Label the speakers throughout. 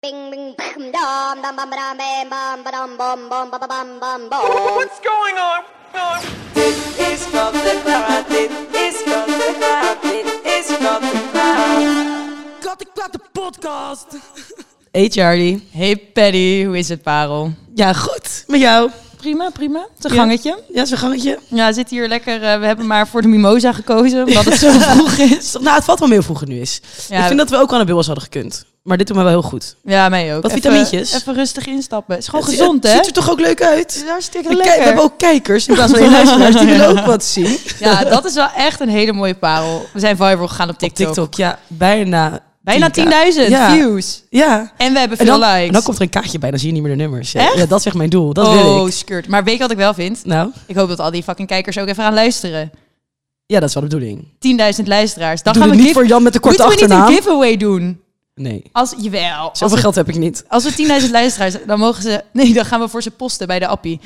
Speaker 1: bing bing bing dom dom bam dom bam bam bam bom bom ba ba bam bam bom.
Speaker 2: What's going on? Uh,
Speaker 3: Dit is van de kwaad, dit is van de kwaad, dit is van de kwaad.
Speaker 4: Kattenklatten podcast.
Speaker 5: Hey Charlie.
Speaker 4: Hey Paddy, hoe is het parel?
Speaker 5: Ja, goed. Met jou.
Speaker 4: Prima, prima. Het is een gangetje.
Speaker 5: Ja, zo'n gangetje.
Speaker 4: Ja, we zitten hier lekker. eh, we hebben maar voor de mimosa gekozen, omdat het zo vroeg is.
Speaker 5: Nou, het valt wel mee hoe vroeg het nu is.
Speaker 4: Ja.
Speaker 5: Ik vind dat we ook aan de bubbels hadden gekund. Maar dit doet me wel heel goed.
Speaker 4: Ja, mij ook.
Speaker 5: Wat
Speaker 4: Even-
Speaker 5: vitamintjes?
Speaker 4: Even rustig instappen. Het is gewoon
Speaker 5: Het-
Speaker 4: gezond,
Speaker 5: het
Speaker 4: hè?
Speaker 5: ziet er toch ook leuk uit?
Speaker 4: is hartstikke
Speaker 5: We, kijk- we hebben
Speaker 4: lekker.
Speaker 5: ook kijkers in plaats van alleen luisteraars. Die willen ook wat zien.
Speaker 4: Ja, dat is wel echt een hele mooie parel. We zijn viral gegaan op
Speaker 5: Op
Speaker 4: TikTok.
Speaker 5: TikTok, ja. Bijna
Speaker 4: Bijna 10.000
Speaker 5: Ja.
Speaker 4: views.
Speaker 5: Ja.
Speaker 4: En we hebben
Speaker 5: En
Speaker 4: veel
Speaker 5: dan,
Speaker 4: likes.
Speaker 5: en dan komt er een kaartje bij, dan zie je niet meer de nummers. Ja,
Speaker 4: Echt?
Speaker 5: Ja, dat is echt mijn doel. Dat wil
Speaker 4: oh,
Speaker 5: ik.
Speaker 4: skirt. Maar weet je wat ik wel vind?
Speaker 5: Nou,
Speaker 4: Ik hoop dat al die fucking kijkers ook even gaan luisteren. 10.000
Speaker 5: ja, dat is wel de bedoeling.
Speaker 4: luisteraars. Dan
Speaker 5: Doe
Speaker 4: gaan
Speaker 5: het
Speaker 4: we
Speaker 5: niet
Speaker 4: give-
Speaker 5: voor Jan met de korte
Speaker 4: Moeten we niet
Speaker 5: achternaam.
Speaker 4: een giveaway doen?
Speaker 5: Nee.
Speaker 4: Als, jawel. Als
Speaker 5: Zoveel
Speaker 4: we,
Speaker 5: geld heb ik niet.
Speaker 4: als we 10.000 luisteraars, dan mogen ze... Nee, dan gaan we voor ze posten bij de appie.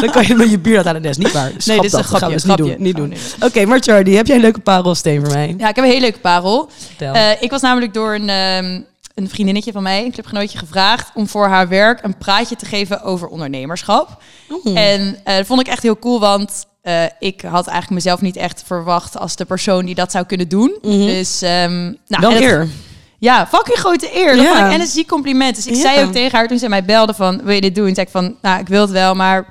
Speaker 5: Dan kan je met je bier dat aan de des. Niet waar. Schrap
Speaker 4: dit is
Speaker 5: dat.
Speaker 4: een grapje,
Speaker 5: Dat gaan we dus
Speaker 4: grapje.
Speaker 5: niet doen. Niet
Speaker 4: Gaan
Speaker 5: doen.
Speaker 4: we niet
Speaker 5: Oké, maar Charlie, heb jij een leuke parelsteen voor mij?
Speaker 4: Ja, ik heb een hele leuke parel.
Speaker 5: Vertel.
Speaker 4: Eh, ik was namelijk door een, ehm, een vriendinnetje van mij, een clubgenootje, gevraagd om voor haar werk een praatje te geven over ondernemerschap.
Speaker 5: Oh.
Speaker 4: En eh, dat vond ik echt heel cool, want eh, ik had eigenlijk mezelf niet echt verwacht als de persoon die dat zou kunnen doen. Dus ehm nou,
Speaker 5: Mhm. Wel
Speaker 4: en dat-
Speaker 5: eer.
Speaker 4: Ja, fucking grote eer. Dat
Speaker 5: Ja.
Speaker 4: vond ik en een ziek compliment. Dus ik
Speaker 5: Ja.
Speaker 4: zei ook tegen haar toen zij mij belde van, wil je dit doen? Toen zei ik van, nou, ik wil het wel, maar ik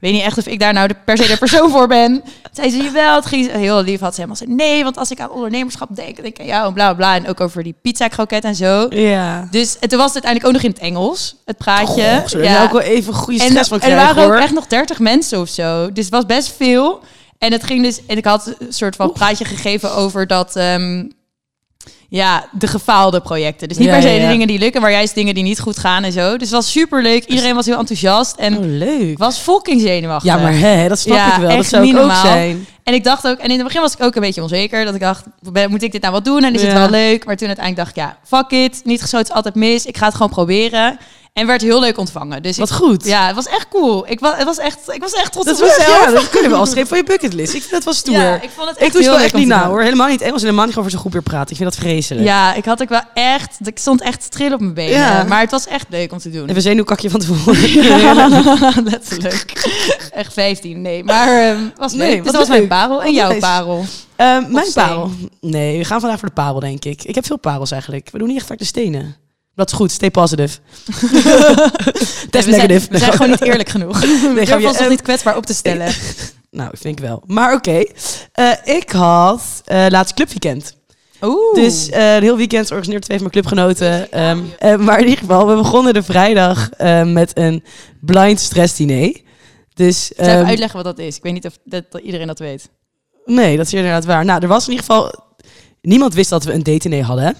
Speaker 4: weet niet echt of ik daar nou de, per se de persoon voor ben. Toen zei ze, jawel. Het ging ze- heel lief. Had ze helemaal gezegd, nee, want als ik aan ondernemerschap denk, denk ik aan jou en bla, bla, bla. En ook over die pizza kroket en zo.
Speaker 5: Ja.
Speaker 4: Dus en toen was het uiteindelijk ook nog in het Engels, het praatje.
Speaker 5: Goh, zullen we
Speaker 4: Ja.
Speaker 5: daar ook wel even goede
Speaker 4: En,
Speaker 5: stress van
Speaker 4: en er
Speaker 5: krijgen,
Speaker 4: waren
Speaker 5: hoor.
Speaker 4: ook echt nog 30 mensen of zo. Dus het was best veel. En het ging dus. En ik had een soort van praatje gegeven over dat. ehm, ja, de gefaalde projecten. Dus niet
Speaker 5: Ja,
Speaker 4: per se
Speaker 5: ja, ja.
Speaker 4: de dingen die lukken, maar juist dingen die niet goed gaan en zo. Dus het was super leuk. Iedereen was heel enthousiast. En
Speaker 5: Oh, leuk.
Speaker 4: ik was fucking zenuwachtig.
Speaker 5: Ja, maar hè, dat snap
Speaker 4: eh, Ja,
Speaker 5: ik wel. Dat
Speaker 4: echt
Speaker 5: zou ik
Speaker 4: niet
Speaker 5: ook
Speaker 4: normaal.
Speaker 5: zijn.
Speaker 4: En ik dacht ook, en in het begin was ik ook een beetje onzeker. Dat ik dacht, ben- moet ik dit nou wat doen? En is het
Speaker 5: Ja.
Speaker 4: wel leuk? Maar toen uiteindelijk dacht ik, ja, fuck it. Niet geschoten is altijd mis. Ik ga het gewoon proberen. En werd heel leuk ontvangen. Dus
Speaker 5: Wat
Speaker 4: ik-
Speaker 5: goed.
Speaker 4: Ja, het was echt cool. Ik was, het was, echt, ik was echt trots
Speaker 5: Dat
Speaker 4: op
Speaker 5: was
Speaker 4: mezelf.
Speaker 5: ja, dat kunnen we al schrijven van je bucketlist. Ik vind dat wel stoer.
Speaker 4: Ja, ik vond het echt
Speaker 5: doe het
Speaker 4: heel
Speaker 5: wel
Speaker 4: leuk
Speaker 5: echt
Speaker 4: om
Speaker 5: niet
Speaker 4: te
Speaker 5: na
Speaker 4: doen.
Speaker 5: hoor. Helemaal niet Engels en helemaal niet gewoon voor zo'n groep weer praten. Ik vind dat vreselijk.
Speaker 4: Ja, ik had ook wel echt, ik stond echt te trillen op mijn benen.
Speaker 5: Ja.
Speaker 4: Maar het was echt leuk om te doen.
Speaker 5: Even zenuwkakje van tevoren.
Speaker 4: Letterlijk. echt 15, nee. Maar ehm, was leuk.
Speaker 5: Nee,
Speaker 4: dus
Speaker 5: wat
Speaker 4: dat was mijn
Speaker 5: leuk.
Speaker 4: parel. En
Speaker 5: Wat
Speaker 4: jouw
Speaker 5: nice.
Speaker 4: parel.
Speaker 5: Ehm, mijn
Speaker 4: steen?
Speaker 5: parel. Nee, we gaan vandaag voor de parel, denk ik. Ik heb veel parels eigenlijk. We doen niet echt vaak de stenen. Dat is goed, stay positive.
Speaker 4: Nee,
Speaker 5: Test
Speaker 4: we, zijn,
Speaker 5: negative.
Speaker 4: we zijn gewoon niet eerlijk genoeg. We
Speaker 5: Nee,
Speaker 4: durven
Speaker 5: grapje.
Speaker 4: ons nog
Speaker 5: Ehm,
Speaker 4: niet kwetsbaar op te stellen.
Speaker 5: Nou, ik denk wel. Maar oké, Eh, ik had eh laatst clubweekend.
Speaker 4: Oeh.
Speaker 5: Dus eh, een heel weekend organiseerd twee van mijn clubgenoten. Ehm, eh, maar in ieder geval, we begonnen de vrijdag eh, met een blind stress diner. Dus,
Speaker 4: Ik zal even
Speaker 5: ehm,
Speaker 4: uitleggen wat dat is. Ik weet niet of dat, dat iedereen dat weet.
Speaker 5: Nee, dat is inderdaad waar. Nou, er was in ieder geval... Niemand wist dat we een date-diner hadden. hè.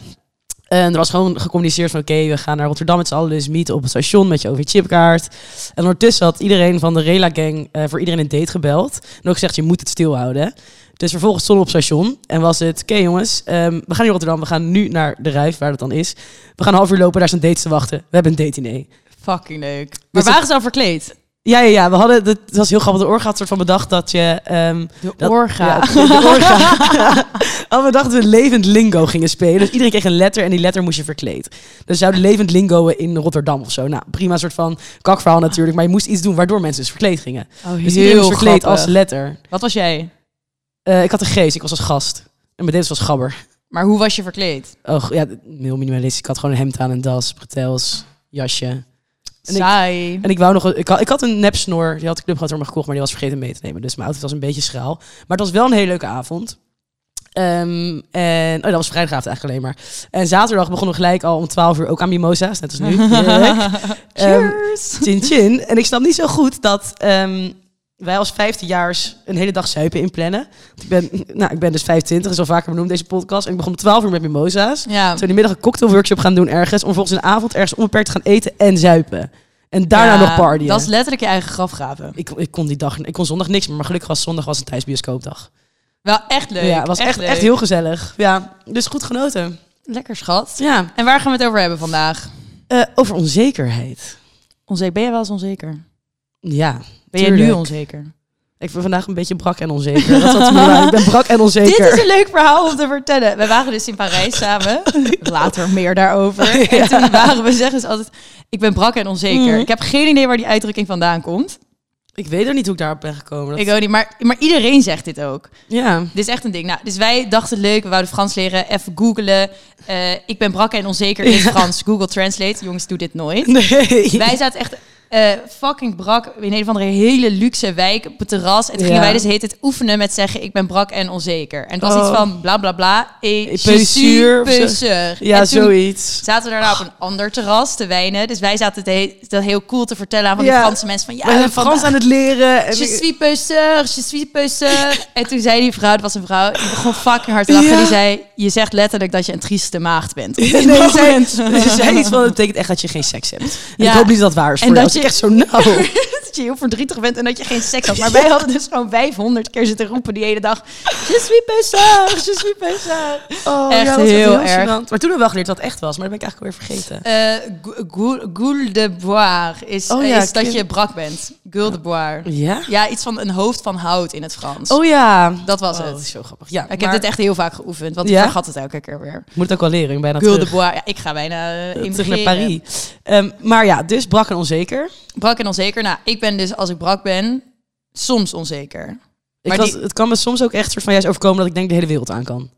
Speaker 5: En er was gewoon gecommuniceerd van... Oké, we gaan naar Rotterdam met z'n allen. Dus meeten op het station met je OV-chipkaart. En ondertussen had iedereen van de Rela-gang... eh, voor iedereen een date gebeld. En ook gezegd, je moet het stilhouden. Dus vervolgens stonden we op het station. En was het... Oké jongens, ehm, we gaan naar Rotterdam. We gaan nu naar de Rijf, waar dat dan is. We gaan een half uur lopen. Daar staan dates te wachten. We hebben een date-diner.
Speaker 4: Fucking leuk. Maar
Speaker 5: Dus
Speaker 4: waren ze al verkleed?
Speaker 5: Ja, ja, ja. We hadden... Dat, dat was heel grappig. De orga had soort van bedacht dat je... ehm,
Speaker 4: De
Speaker 5: dat-
Speaker 4: orga.
Speaker 5: ja, de orga. Al we dachten we levend lingo gingen spelen. Dus iedereen kreeg een letter en die letter moest je verkleed. Dus zouden levend lingoen in Rotterdam of zo. Nou, prima soort van kakverhaal natuurlijk. Maar je moest iets doen waardoor mensen dus verkleed gingen.
Speaker 4: Oh,
Speaker 5: Dus iedereen was verkleed
Speaker 4: grappig.
Speaker 5: als letter.
Speaker 4: Wat was jij?
Speaker 5: Eh, ik had een geest, ik was als gast. En mijn dit was gabber.
Speaker 4: Maar hoe was je verkleed?
Speaker 5: Oh, ja, heel minimalistisch. Ik had gewoon een hemd aan, een das, bretels, jasje. En ik-
Speaker 4: Saai.
Speaker 5: En ik wou nog, ik had, ik had een nepsnor, die had de club me gekocht, maar die was vergeten mee te nemen. Dus mijn outfit was een beetje schraal. Maar het was wel een hele leuke avond. Ehm, en, oh, dat was vrijdagavond eigenlijk alleen maar. En zaterdag begonnen we gelijk al om 12 uur ook aan mimosa's, net als nu. Heerlijk. Ehm,
Speaker 4: Cheers.
Speaker 5: Chin chin. En ik snap niet zo goed dat ehm, wij als 15-jaars een hele dag zuipen inplannen. Want Ik ben, nou, ik ben dus 25, is al vaker benoemd deze podcast. En ik begon om 12 uur met mimosa's.
Speaker 4: ja.
Speaker 5: Zo in de middag een cocktailworkshop gaan doen ergens. Om volgens een avond ergens onbeperkt te gaan eten en zuipen. En daarna
Speaker 4: Ja,
Speaker 5: nog partyen.
Speaker 4: Dat is letterlijk je eigen graf graven.
Speaker 5: ik, ik kon die dag, ik kon zondag niks meer. Maar gelukkig was zondag was een thuisbioscoopdag.
Speaker 4: Wel echt leuk.
Speaker 5: ja, het was echt, echt,
Speaker 4: leuk.
Speaker 5: heel gezellig. Ja, dus goed genoten.
Speaker 4: Lekker schat.
Speaker 5: Ja.
Speaker 4: En waar gaan we het over hebben vandaag?
Speaker 5: Eh, over onzekerheid.
Speaker 4: Onzeker. Ben je wel eens onzeker?
Speaker 5: Ja.
Speaker 4: Ben je nu
Speaker 5: tuurlijk.
Speaker 4: onzeker?
Speaker 5: Ik ben vandaag een beetje brak en onzeker. Dat was mijn- ik ben brak en onzeker.
Speaker 4: Dit is een leuk verhaal om te vertellen. We waren dus in Parijs samen. Later meer daarover. En toen waren we zeggen ze altijd... Ik ben brak en onzeker. Ik heb geen idee waar die uitdrukking vandaan komt.
Speaker 5: Ik weet ook niet hoe ik daarop ben gekomen. Dat-
Speaker 4: Ik ook niet, maar, maar iedereen zegt dit ook.
Speaker 5: Ja.
Speaker 4: Dit is echt een ding. Nou, dus wij dachten leuk, we wouden Frans leren. Even googelen. Eh, ik ben brak en onzeker in Frans. Google Translate. Jongens, doe dit nooit.
Speaker 5: Nee.
Speaker 4: Wij zaten echt eh, fucking brak in een of andere hele luxe wijk op het terras. En toen gingen
Speaker 5: Ja.
Speaker 4: wij dus heet het oefenen met zeggen ik ben brak en onzeker. En het was
Speaker 5: Oh.
Speaker 4: iets van bla bla bla. Et
Speaker 5: Et
Speaker 4: je suis
Speaker 5: sûr, of zo.
Speaker 4: peuseur.
Speaker 5: ja,
Speaker 4: En toen
Speaker 5: zoiets.
Speaker 4: Zaten we daarna op een ander terras te wijnen. Dus wij zaten het he- dat heel cool te vertellen aan van die
Speaker 5: Ja.
Speaker 4: Franse mensen. Van ja,
Speaker 5: We zijn
Speaker 4: vandaag-
Speaker 5: Frans aan het leren. En
Speaker 4: Je
Speaker 5: ik-
Speaker 4: suis peuseur, je suis peuseur. En toen zei die vrouw, het was een vrouw, die begon fucking hard te lachen.
Speaker 5: Ja.
Speaker 4: Die zei, je zegt letterlijk dat je een trieste maagd bent. Op dit
Speaker 5: Nee, ze zei,
Speaker 4: moment.
Speaker 5: ze zei iets van, het betekent echt dat je geen seks hebt. En
Speaker 4: Ja.
Speaker 5: ik hoop niet dat dat waar is
Speaker 4: En
Speaker 5: voor jou.
Speaker 4: dat
Speaker 5: Dat je
Speaker 4: je-
Speaker 5: echt zo, nou...
Speaker 4: dat je heel verdrietig bent en dat je geen seks had. Maar wij hadden dus gewoon 500 keer zitten roepen die hele dag. Je suis peuseur, je suis peuseur.
Speaker 5: Oh,
Speaker 4: Echt
Speaker 5: ja, dat is
Speaker 4: heel erg.
Speaker 5: gênant. Maar toen hebben we wel geleerd dat het echt was, maar dat ben ik eigenlijk alweer vergeten.
Speaker 4: Eh, gou- gou- Goule de boire is,
Speaker 5: Oh ja,
Speaker 4: is dat
Speaker 5: ken-
Speaker 4: je brak bent. Goule de boire.
Speaker 5: Ja?
Speaker 4: Ja, iets van een hoofd van hout in het Frans.
Speaker 5: Oh ja.
Speaker 4: Dat was
Speaker 5: Oh,
Speaker 4: het.
Speaker 5: zo grappig. Ja,
Speaker 4: ik
Speaker 5: maar-
Speaker 4: heb dit echt heel vaak geoefend, want ik
Speaker 5: Ja?
Speaker 4: vergat het elke keer weer.
Speaker 5: Moet het ook wel leren, ik ben bijna
Speaker 4: Gueule de
Speaker 5: terug,
Speaker 4: bois. Ja, ik ga bijna eh,
Speaker 5: eh, terug naar
Speaker 4: immigreren.
Speaker 5: Parijs. Ehm, maar ja, dus brak en onzeker.
Speaker 4: Brak en onzeker. Nou, ik ben dus als ik brak ben, soms onzeker.
Speaker 5: Ik
Speaker 4: Maar
Speaker 5: was,
Speaker 4: die-
Speaker 5: Het kan me soms ook echt soort van juist overkomen dat ik denk de hele wereld aan kan.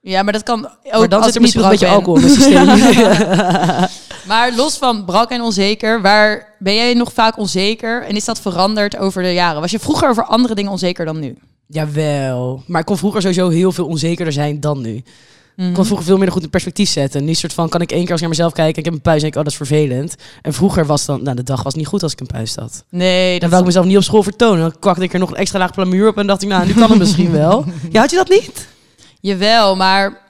Speaker 4: Ja, maar dat kan ook
Speaker 5: maar dan
Speaker 4: als ik
Speaker 5: zit er
Speaker 4: niet
Speaker 5: misschien
Speaker 4: brak
Speaker 5: een beetje
Speaker 4: ben.
Speaker 5: alcohol in mijn systeem.
Speaker 4: Maar los van brak en onzeker, waar ben jij nog vaak onzeker? En is dat veranderd over de jaren? Was je vroeger over andere dingen onzeker dan nu?
Speaker 5: Jawel. Maar ik kon vroeger sowieso heel veel onzekerder zijn dan nu. Ik kon vroeger veel minder goed in perspectief zetten. Nu soort van kan ik één keer als ik naar mezelf kijk, ik heb een puist en ik, oh dat is vervelend. En vroeger was dan, nou de dag was niet goed als ik een puist had.
Speaker 4: Nee,
Speaker 5: Dan wou ik mezelf niet op school vertonen. Dan kwakte ik er nog een extra laag plamuur op en dacht ik, nou, nu kan het misschien wel. Ja, had je dat niet?
Speaker 4: Jawel, maar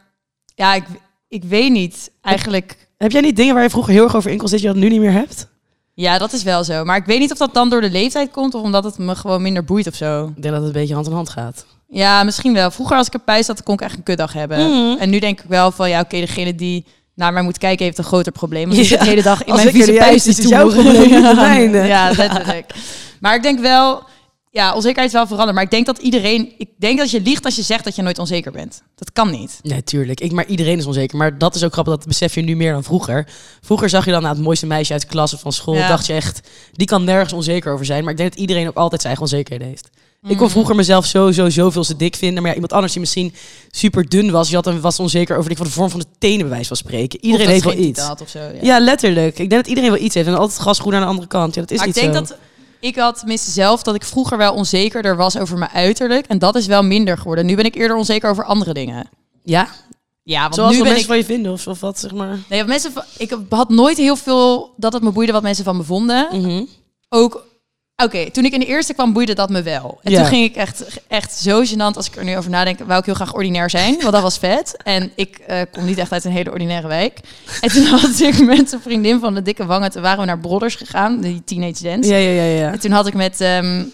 Speaker 4: ja, ik, ik weet niet. Eigenlijk,
Speaker 5: Heb jij niet dingen waar je vroeger heel erg over in kon zitten, dat je dat nu niet meer hebt?
Speaker 4: ja, dat is wel zo. Maar ik weet niet of dat dan door de leeftijd komt of omdat het me gewoon minder boeit of zo.
Speaker 5: Ik denk dat het een beetje hand in hand gaat.
Speaker 4: Ja, misschien wel. Vroeger als ik een pijs zat, kon ik echt een kutdag hebben.
Speaker 5: Mhm.
Speaker 4: En nu denk ik wel van, ja, oké, degene die naar mij moet kijken heeft een groter probleem. Want die
Speaker 5: Ja.
Speaker 4: zit de hele dag in
Speaker 5: Als
Speaker 4: mijn
Speaker 5: ik er
Speaker 4: vieze
Speaker 5: niet uit
Speaker 4: pijs
Speaker 5: zie,
Speaker 4: te
Speaker 5: is het jouw
Speaker 4: toeren.
Speaker 5: probleem, niet
Speaker 4: Ja.
Speaker 5: de mijne.
Speaker 4: Ja, letterlijk. Maar ik denk wel, ja, onzekerheid is wel veranderd. Maar ik denk dat iedereen, ik denk dat je liegt als je zegt dat je nooit onzeker bent. Dat kan niet.
Speaker 5: Nee, tuurlijk. Ik, maar iedereen is onzeker. Maar dat is ook grappig, dat besef je nu meer dan vroeger. Vroeger zag je dan nou, het mooiste meisje uit de klas of van school.
Speaker 4: Ja.
Speaker 5: dacht je echt, die kan nergens onzeker over zijn. Maar ik denk dat iedereen ook altijd zijn eigen onzekerheden heeft. Ik
Speaker 4: Mhm.
Speaker 5: kon vroeger mezelf sowieso zoveel te dik vinden. Maar ja, iemand anders die misschien super dun was, die had een, was onzeker over ik van de vorm van de tenen bij wijze van spreken. Iedereen
Speaker 4: Of
Speaker 5: heeft
Speaker 4: dat
Speaker 5: wel
Speaker 4: geen
Speaker 5: iets.
Speaker 4: titel had of zo, ja.
Speaker 5: Ja, letterlijk. Ik denk dat iedereen wel iets heeft. En altijd gas goed aan de andere kant. Ja, dat is
Speaker 4: maar ik
Speaker 5: niet
Speaker 4: denk
Speaker 5: zo.
Speaker 4: dat ik had tenminste zelf dat ik vroeger wel onzekerder was over mijn uiterlijk. En dat is wel minder geworden. Nu ben ik eerder onzeker over andere dingen.
Speaker 5: Ja?
Speaker 4: Ja, want
Speaker 5: Zoals
Speaker 4: nu
Speaker 5: wat
Speaker 4: ben
Speaker 5: mensen
Speaker 4: ik
Speaker 5: van je vinden of, of wat, zeg maar.
Speaker 4: Nee, want mensen, van- ik had nooit heel veel dat het me boeide wat mensen van me vonden. Ook, oké, toen ik in de eerste kwam boeide dat me wel. En
Speaker 5: Ja.
Speaker 4: toen ging ik echt, echt zo gênant, als ik er nu over nadenk, wou ik heel graag ordinair zijn, want dat was vet. En ik eh, kom niet echt uit een hele ordinaire wijk. En toen had ik met een vriendin van de dikke wangen, toen waren we naar Brodders gegaan, die Teenage Dance.
Speaker 5: Ja, ja, ja. ja.
Speaker 4: En toen had ik met, ehm,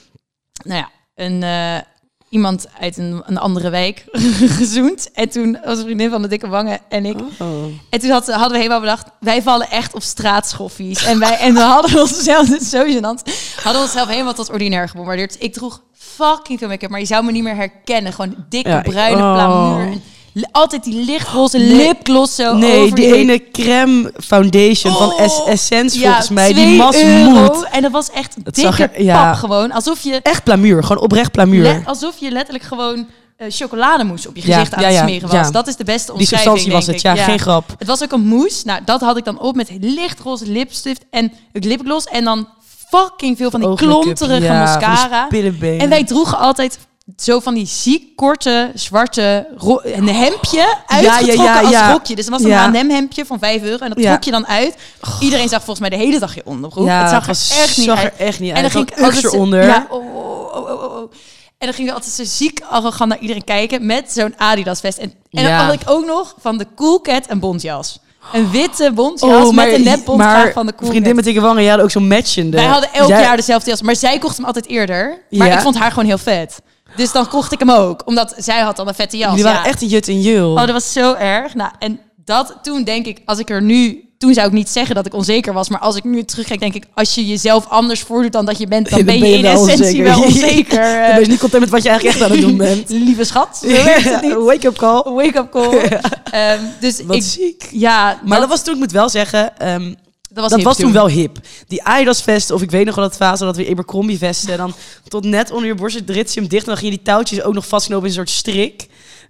Speaker 4: nou ja, een, eh, iemand uit een, een andere wijk gezoend. En toen was een vriendin van de dikke wangen en ik
Speaker 5: Oh.
Speaker 4: en toen had- hadden we helemaal bedacht, wij vallen echt op straatschoffies. En, wij, en we hadden onszelf, dit is zo gênant, hadden onszelf helemaal tot ordinair gebombardeerd. Ik droeg fucking veel make-up, maar je zou me niet meer herkennen. Gewoon dikke,
Speaker 5: Ja, ik-
Speaker 4: bruine
Speaker 5: oh.
Speaker 4: plamuur. En li- Altijd die lichtroze lipgloss zo
Speaker 5: Nee,
Speaker 4: over
Speaker 5: die
Speaker 4: je-
Speaker 5: ene crème foundation van Es-
Speaker 4: Oh,
Speaker 5: Essence
Speaker 4: ja,
Speaker 5: volgens mij. Die
Speaker 4: 2
Speaker 5: mas
Speaker 4: euro.
Speaker 5: moet.
Speaker 4: En dat was echt
Speaker 5: zag
Speaker 4: dikke
Speaker 5: er- ja.
Speaker 4: pap gewoon. Alsof je,
Speaker 5: Echt plamuur. Gewoon oprecht plamuur.
Speaker 4: le- alsof je letterlijk gewoon eh, chocolademousse op je
Speaker 5: Ja,
Speaker 4: gezicht aan
Speaker 5: ja,
Speaker 4: het
Speaker 5: ja,
Speaker 4: smeren was.
Speaker 5: ja.
Speaker 4: Dat is de beste
Speaker 5: die
Speaker 4: omschrijving,
Speaker 5: substantie was
Speaker 4: denk
Speaker 5: het.
Speaker 4: ik.
Speaker 5: Ja, geen grap.
Speaker 4: Het was ook een mousse. Nou, dat had ik dan op met lichtroze lipstift en lipgloss. En dan fucking veel van die
Speaker 5: Oogmake-up,
Speaker 4: klonterige
Speaker 5: ja, van die
Speaker 4: mascara.
Speaker 5: spillebeen.
Speaker 4: En wij droegen altijd zo van die ziek korte, zwarte, ro- een hemdje uitgetrokken
Speaker 5: Oh. ja, ja.
Speaker 4: als rokje. Dus dat was een
Speaker 5: Ja.
Speaker 4: H&M hemdje van 5 euro. En dat
Speaker 5: Ja. Oh.
Speaker 4: trok je dan uit. Iedereen zag volgens mij de hele dag je onderbroek.
Speaker 5: Ja,
Speaker 4: het zag er
Speaker 5: was-
Speaker 4: echt niet
Speaker 5: zag
Speaker 4: uit.
Speaker 5: er echt niet
Speaker 4: En dan
Speaker 5: uit.
Speaker 4: ging
Speaker 5: Ook
Speaker 4: ik altijd
Speaker 5: uks
Speaker 4: zo-
Speaker 5: eronder.
Speaker 4: Ja, oh, oh, oh, oh, oh. En dan gingen we altijd zo ziek arrogant naar iedereen kijken met zo'n Adidas vest. En, en
Speaker 5: Ja.
Speaker 4: dan had ik ook nog van de Cool Cat een bontjas. Een witte bontjas met een net
Speaker 5: Oh, maar
Speaker 4: bontgraag van de Cool
Speaker 5: vriendin
Speaker 4: Cat.
Speaker 5: met dikke wangen, jij had ook zo'n matchende. Dus
Speaker 4: Wij hadden elk
Speaker 5: Jij-
Speaker 4: jaar dezelfde jas, maar zij kocht hem altijd eerder. Maar
Speaker 5: Ja.
Speaker 4: ik vond haar gewoon heel vet. Dus dan kocht ik hem ook, omdat zij had dan een vette jas.
Speaker 5: Jullie waren
Speaker 4: ja.
Speaker 5: echt een jut en jul.
Speaker 4: Oh, dat was zo erg. Nou, en dat toen denk ik, als ik er nu toen zou ik niet zeggen dat ik onzeker was. Maar als ik nu terugkijk, denk ik, als je jezelf anders voordoet dan dat je bent, dan, ben je in
Speaker 5: wel
Speaker 4: essentie wel
Speaker 5: Dan
Speaker 4: onzeker. eh,
Speaker 5: ben je dus niet content met wat je eigenlijk echt aan het doen bent.
Speaker 4: Lieve schat, zo werkt het niet.
Speaker 5: Wake-up call.
Speaker 4: Wake-up call. Ehm, dus
Speaker 5: Wat
Speaker 4: ik, Oh.
Speaker 5: ziek.
Speaker 4: ja,
Speaker 5: Maar dat was toen, ik moet wel zeggen, ehm,
Speaker 4: dat was,
Speaker 5: dat
Speaker 4: hip
Speaker 5: was toen wel hip. Die Adidas vesten, of ik weet nog wel dat fase dat we Abercrombie vesten. En dan tot net onder je borst rit je hem dicht. En dan ging je die touwtjes ook nog vastknopen in een soort strik.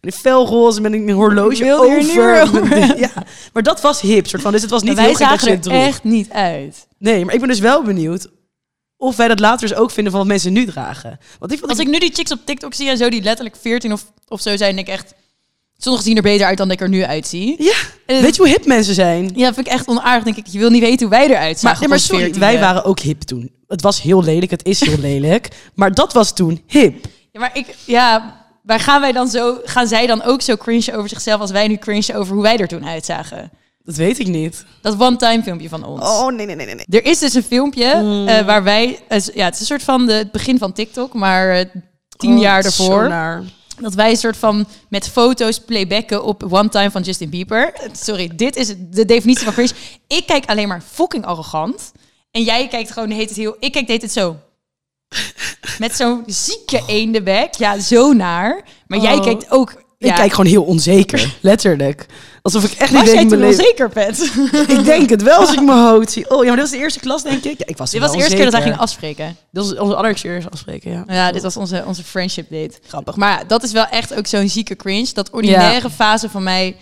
Speaker 5: En een felroze met een
Speaker 4: Ik
Speaker 5: horloge
Speaker 4: wilde hier niet
Speaker 5: over.
Speaker 4: meer over.
Speaker 5: Ja, maar dat was hip, soort van. Dus het was niet
Speaker 4: Maar
Speaker 5: heel
Speaker 4: wij
Speaker 5: gek dat je
Speaker 4: zagen
Speaker 5: het
Speaker 4: er
Speaker 5: droeg.
Speaker 4: echt niet uit.
Speaker 5: Nee, maar ik ben dus wel benieuwd of wij dat later dus ook vinden van wat mensen nu dragen. Want ik vond
Speaker 4: Als ik nu die chicks op TikTok zie en zo, die letterlijk 14 of, of zo zijn, denk ik echt... Sommigen zien er beter uit dan ik er nu uitzie.
Speaker 5: Ja,
Speaker 4: Eh,
Speaker 5: weet je hoe hip mensen zijn?
Speaker 4: Ja, vind ik echt onaardig. Denk ik, je wil niet weten hoe wij eruit zagen
Speaker 5: Maar, nee, maar sorry, wij waren ook hip toen. Het was heel lelijk, het is heel lelijk. Maar dat was toen hip.
Speaker 4: Ja, maar ik, ja, waar gaan wij dan zo, gaan zij dan ook zo cringe over zichzelf als wij nu cringe over hoe wij er toen uitzagen?
Speaker 5: Dat weet ik niet.
Speaker 4: Dat one-time filmpje van ons.
Speaker 5: Oh, nee, nee, nee, nee. Hmm.
Speaker 4: Er is dus een filmpje eh, waar wij, eh, ja, het is een soort van de, het begin van TikTok, maar eh, tien
Speaker 5: Oh,
Speaker 4: jaar daarvoor. Dat wij een soort van met foto's playbacken op One Time van Justin Bieber. Eh, Sorry, dit is de definitie van cringe. Ik kijk alleen maar fucking arrogant. En jij kijkt gewoon, heet het heel... Ik kijk, deed het zo. Met zo'n zieke eendenbek. Ja, zo naar. Maar jij
Speaker 5: Oh.
Speaker 4: kijkt ook... Ja.
Speaker 5: Ik kijk gewoon heel onzeker, letterlijk. Alsof ik echt niet
Speaker 4: Was
Speaker 5: weet
Speaker 4: jij
Speaker 5: in
Speaker 4: toen
Speaker 5: mijn leven...
Speaker 4: onzeker, Pet?
Speaker 5: Ik denk het wel als ik mijn hoofd zie. Oh ja, maar dat was de eerste klas, denk ik. Ja, ik was
Speaker 4: Dit
Speaker 5: wel
Speaker 4: was de eerste keer dat wij
Speaker 5: onzeker.
Speaker 4: gingen afspreken.
Speaker 5: Dat was onze allereerste eerste afspreken, ja.
Speaker 4: Ja, dit was onze, onze friendship date.
Speaker 5: Grappig.
Speaker 4: Maar ja, dat is wel echt ook zo'n zieke cringe. Dat ordinaire fase van mij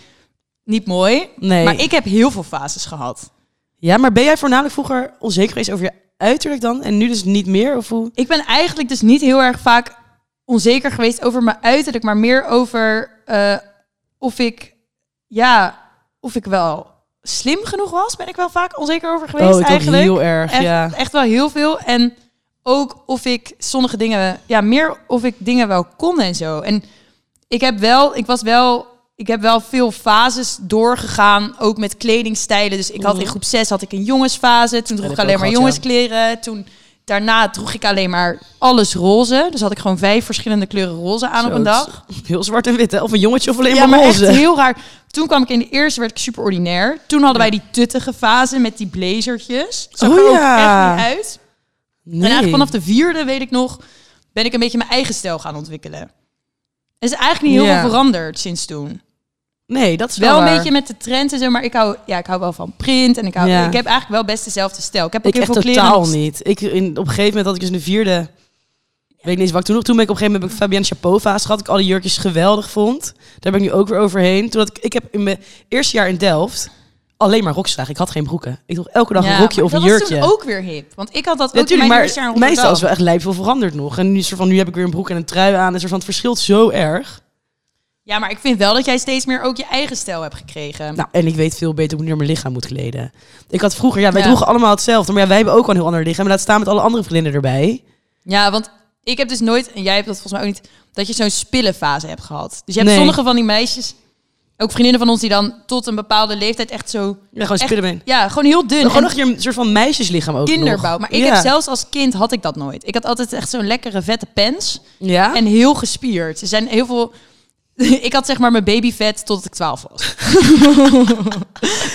Speaker 4: niet mooi.
Speaker 5: Nee.
Speaker 4: Maar ik heb heel veel fases gehad.
Speaker 5: Ja, maar ben jij voornamelijk vroeger onzeker geweest over je uiterlijk dan? En nu dus niet meer, of hoe?
Speaker 4: Ik ben eigenlijk dus niet heel erg vaak onzeker geweest over mijn uiterlijk, maar meer over eh, of ik, ja, of ik wel slim genoeg was. Ben ik wel vaak onzeker over geweest
Speaker 5: ik ook
Speaker 4: eigenlijk.
Speaker 5: Oh, heel erg,
Speaker 4: echt,
Speaker 5: ja.
Speaker 4: echt wel heel veel. En ook of ik sommige dingen, ja, meer of ik dingen wel kon en zo. En ik heb wel, ik was wel, ik heb wel veel fases doorgegaan, ook met kledingstijlen. Dus ik had in groep 6 had ik een jongensfase, toen droeg
Speaker 5: Mm. heb
Speaker 4: ik
Speaker 5: ik
Speaker 4: alleen
Speaker 5: ook
Speaker 4: maar
Speaker 5: gehad,
Speaker 4: jongenskleren. Toen daarna droeg ik alleen maar alles roze. Dus had ik gewoon vijf verschillende kleuren roze aan op
Speaker 5: Zo,
Speaker 4: een
Speaker 5: het is
Speaker 4: dag.
Speaker 5: Heel zwart en wit, hè? Of een jongetje of alleen
Speaker 4: Ja,
Speaker 5: maar
Speaker 4: maar echt
Speaker 5: roze.
Speaker 4: heel raar. Toen kwam ik in de eerste, werd ik super ordinair. Toen hadden wij die tuttige fase met die blazertjes. Zag
Speaker 5: Oh
Speaker 4: er ook
Speaker 5: ja.
Speaker 4: echt niet uit.
Speaker 5: Nee.
Speaker 4: En eigenlijk vanaf de vierde, weet ik nog, ben ik een beetje mijn eigen stijl gaan ontwikkelen. Er is eigenlijk niet heel
Speaker 5: Ja.
Speaker 4: veel veranderd sinds toen.
Speaker 5: Nee, dat is wel,
Speaker 4: Wel een
Speaker 5: waar.
Speaker 4: beetje met de trends en zo, maar ik hou, ja, ik hou wel van print. En ik, hou,
Speaker 5: Ja.
Speaker 4: ik heb eigenlijk wel best dezelfde stijl. Ik heb ook
Speaker 5: Ik
Speaker 4: heel
Speaker 5: echt
Speaker 4: veel kleren.
Speaker 5: totaal
Speaker 4: nog-
Speaker 5: niet. Ik, in, op een gegeven moment had ik dus een vierde... Weet ik niet eens wat ik toen nog... Toen ben ik op een gegeven moment heb ik Fabienne Chapeau fase gehad. Ik al die jurkjes geweldig vond. Daar ben ik nu ook weer overheen. Toen had ik, ik heb in mijn eerste jaar in Delft alleen maar rokjes gedragen. Ik had geen broeken. Ik droeg elke dag
Speaker 4: Ja,
Speaker 5: een rokje
Speaker 4: maar
Speaker 5: of een
Speaker 4: dat was
Speaker 5: jurkje.
Speaker 4: toen ook weer hip. Want ik had dat ook in
Speaker 5: Natuurlijk,
Speaker 4: mijn
Speaker 5: maar
Speaker 4: eerste jaar in
Speaker 5: meestal is
Speaker 4: Rotterdam.
Speaker 5: wel echt lijp veel veranderd nog. En nu, soort van, nu heb ik weer een broek en een trui aan. En soort van, het verschilt zo erg.
Speaker 4: Ja, maar ik vind wel dat jij steeds meer ook je eigen stijl hebt gekregen.
Speaker 5: Nou, en ik weet veel beter hoe ik naar mijn lichaam moet kleden. Ik had vroeger, ja, wij
Speaker 4: Ja.
Speaker 5: droegen allemaal hetzelfde. Maar ja, wij hebben ook wel een heel ander lichaam. En laat staan met alle andere vriendinnen erbij.
Speaker 4: Ja, want ik heb dus nooit, en jij hebt dat volgens mij ook niet, dat je zo'n spillenfase hebt gehad. Dus je hebt
Speaker 5: Nee.
Speaker 4: sommige van die meisjes, ook vriendinnen van ons, die dan tot een bepaalde leeftijd echt zo...
Speaker 5: Ja, gewoon
Speaker 4: echt-
Speaker 5: spillenbeen.
Speaker 4: Ja, gewoon heel dun.
Speaker 5: En gewoon
Speaker 4: en
Speaker 5: nog hier een soort van meisjeslichaam ook
Speaker 4: kinderbouw.
Speaker 5: nog.
Speaker 4: Maar ik
Speaker 5: Ja.
Speaker 4: heb zelfs als kind had ik dat nooit. Ik had altijd echt zo'n lekkere vette pens
Speaker 5: Ja?
Speaker 4: en heel gespierd. Er zijn heel veel... Ik had zeg maar mijn babyvet totdat ik 12 was.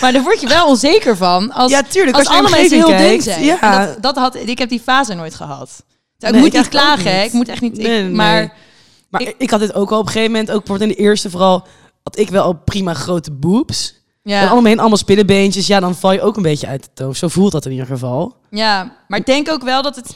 Speaker 4: maar daar word je wel onzeker van als,
Speaker 5: Ja, tuurlijk,
Speaker 4: als,
Speaker 5: als je
Speaker 4: alle
Speaker 5: in je
Speaker 4: mensen heel
Speaker 5: omgeving
Speaker 4: dun
Speaker 5: kijkt.
Speaker 4: zijn.
Speaker 5: Ja.
Speaker 4: En Dat, dat had, ik heb die fase nooit gehad.
Speaker 5: Nee,
Speaker 4: ik moet niet
Speaker 5: ik eigenlijk ook
Speaker 4: klagen, hè.
Speaker 5: niet.
Speaker 4: ik moet echt niet. ik-
Speaker 5: Nee, nee, nee.
Speaker 4: Maar
Speaker 5: maar
Speaker 4: ik-
Speaker 5: ik, had dit ook al op een gegeven moment, ook bijvoorbeeld in de eerste vooral, had ik wel al prima grote boobs. En
Speaker 4: Ja,
Speaker 5: allemaal allemaal spinnenbeentjes. Ja, dan val je ook een beetje uit de toon. Zo voelt dat in ieder geval.
Speaker 4: ja, maar ik denk ook wel dat het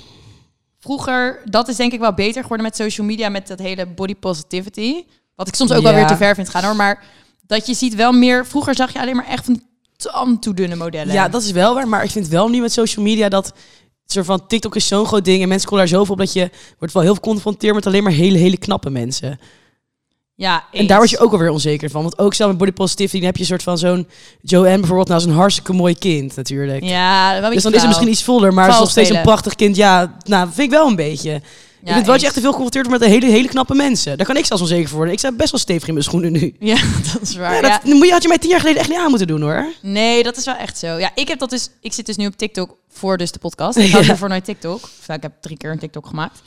Speaker 4: vroeger, dat is denk ik wel beter geworden met social media, met dat hele body positivity. Wat ik soms ook wel
Speaker 5: Ja.
Speaker 4: weer te ver vind gaan hoor, maar dat je ziet wel meer, vroeger zag je alleen maar echt van die tam toe dunne modellen.
Speaker 5: Ja, dat is wel waar. Maar ik vind wel nu met social media dat... het soort van TikTok is zo'n groot ding en mensen komen daar zoveel op... dat je wordt wel heel veel geconfronteerd met alleen maar hele, hele knappe mensen.
Speaker 4: ja
Speaker 5: En daar word je ook alweer onzeker van. Want ook zelf met body positivity dan heb je een soort van zo'n... Joanne bijvoorbeeld, nou is een hartstikke mooi kind natuurlijk.
Speaker 4: Ja, wel een
Speaker 5: Dus dan is
Speaker 4: beetje
Speaker 5: het misschien iets voller, maar het is
Speaker 4: Flauw
Speaker 5: nog steeds een
Speaker 4: spelen.
Speaker 5: prachtig kind. Ja, nou, vind ik wel een beetje. ik vind wel dat
Speaker 4: eens.
Speaker 5: je echt te veel geconfronteerd wordt met hele, hele knappe mensen. Daar kan ik zelfs onzeker voor worden. Ik sta best wel stevig in mijn schoenen nu.
Speaker 4: flauw. Ja, dat is waar.
Speaker 5: Ja,
Speaker 4: Ja,
Speaker 5: dat moet je- had je mij tien jaar geleden echt niet aan moeten doen hoor.
Speaker 4: Nee, dat is wel echt zo. Ja, ik heb dat dus. Ik zit dus nu op TikTok voor dus de podcast. Ik had
Speaker 5: Ja.
Speaker 4: hiervoor nooit TikTok. Of, nou, ik heb drie keer een TikTok gemaakt.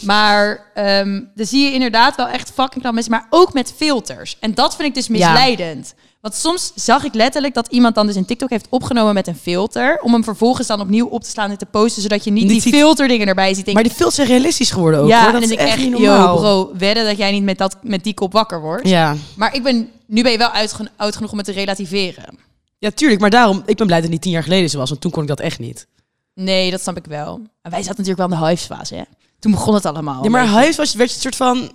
Speaker 4: Maar ehm dan zie je inderdaad wel echt fucking knap mensen, maar ook met filters. En dat vind ik dus misleidend. Want soms zag ik letterlijk dat iemand dan dus een TikTok heeft opgenomen met een filter. Om hem vervolgens dan opnieuw op te slaan en te posten. Zodat je niet,
Speaker 5: Niet
Speaker 4: die
Speaker 5: ziet-
Speaker 4: filterdingen erbij ziet. Denk
Speaker 5: Maar
Speaker 4: ik,
Speaker 5: die films zijn realistisch geworden ook.
Speaker 4: ja,
Speaker 5: hoor.
Speaker 4: en
Speaker 5: Dat
Speaker 4: dan
Speaker 5: is
Speaker 4: denk ik
Speaker 5: echt,
Speaker 4: echt,
Speaker 5: niet
Speaker 4: yo
Speaker 5: normaal.
Speaker 4: bro, wedden dat jij niet met, dat, met die kop wakker wordt.
Speaker 5: Ja.
Speaker 4: Maar ik ben, nu ben je wel uit, gen- oud genoeg om het te relativeren.
Speaker 5: ja, tuurlijk. Maar daarom, ik ben blij dat het niet tien jaar geleden zo was. Want toen kon ik dat echt niet.
Speaker 4: Nee, dat snap ik wel. En wij zaten natuurlijk wel in de hives-fase, hè? Toen begon het allemaal.
Speaker 5: Ja, maar huis was, werd je een soort van...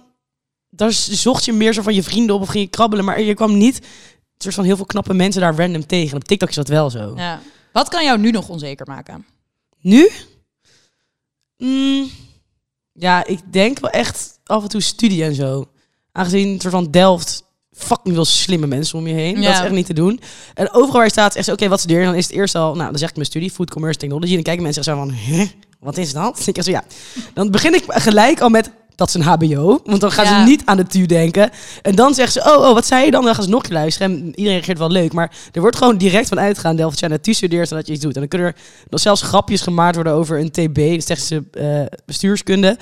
Speaker 5: Daar zocht je meer zo van je vrienden op of ging je krabbelen. Maar je kwam niet een soort van heel veel knappe mensen daar random tegen. En op TikTok is dat wel zo.
Speaker 4: Ja. Wat kan jou nu nog onzeker maken?
Speaker 5: Nu? Mm, ja, ik denk wel echt af en toe studie en zo. Aangezien het soort van Delft fucking veel slimme mensen om je heen. Dat is
Speaker 4: Ja.
Speaker 5: echt niet te doen. En overal waar je staat, zegt ze, oké, wat studeer je? Dan is het eerst al, nou, dan zeg ik mijn studie, Food Commerce Technology. Dan kijken mensen zo van, hè, wat is dat? Ik zeg zo, ja. Dan begin ik gelijk al met, dat is een hbo. Want dan gaan
Speaker 4: Ja.
Speaker 5: ze niet aan de tuur denken. En dan zeggen ze, oh, oh, wat zei je dan? Dan gaan ze nog een keer luisteren. En iedereen reageert wel leuk. Maar er wordt gewoon direct van uitgegaan dat jij naartoe studeert en dat je iets doet. En dan kunnen er nog zelfs grapjes gemaakt worden over een TB, dus technische eh, bestuurskunde.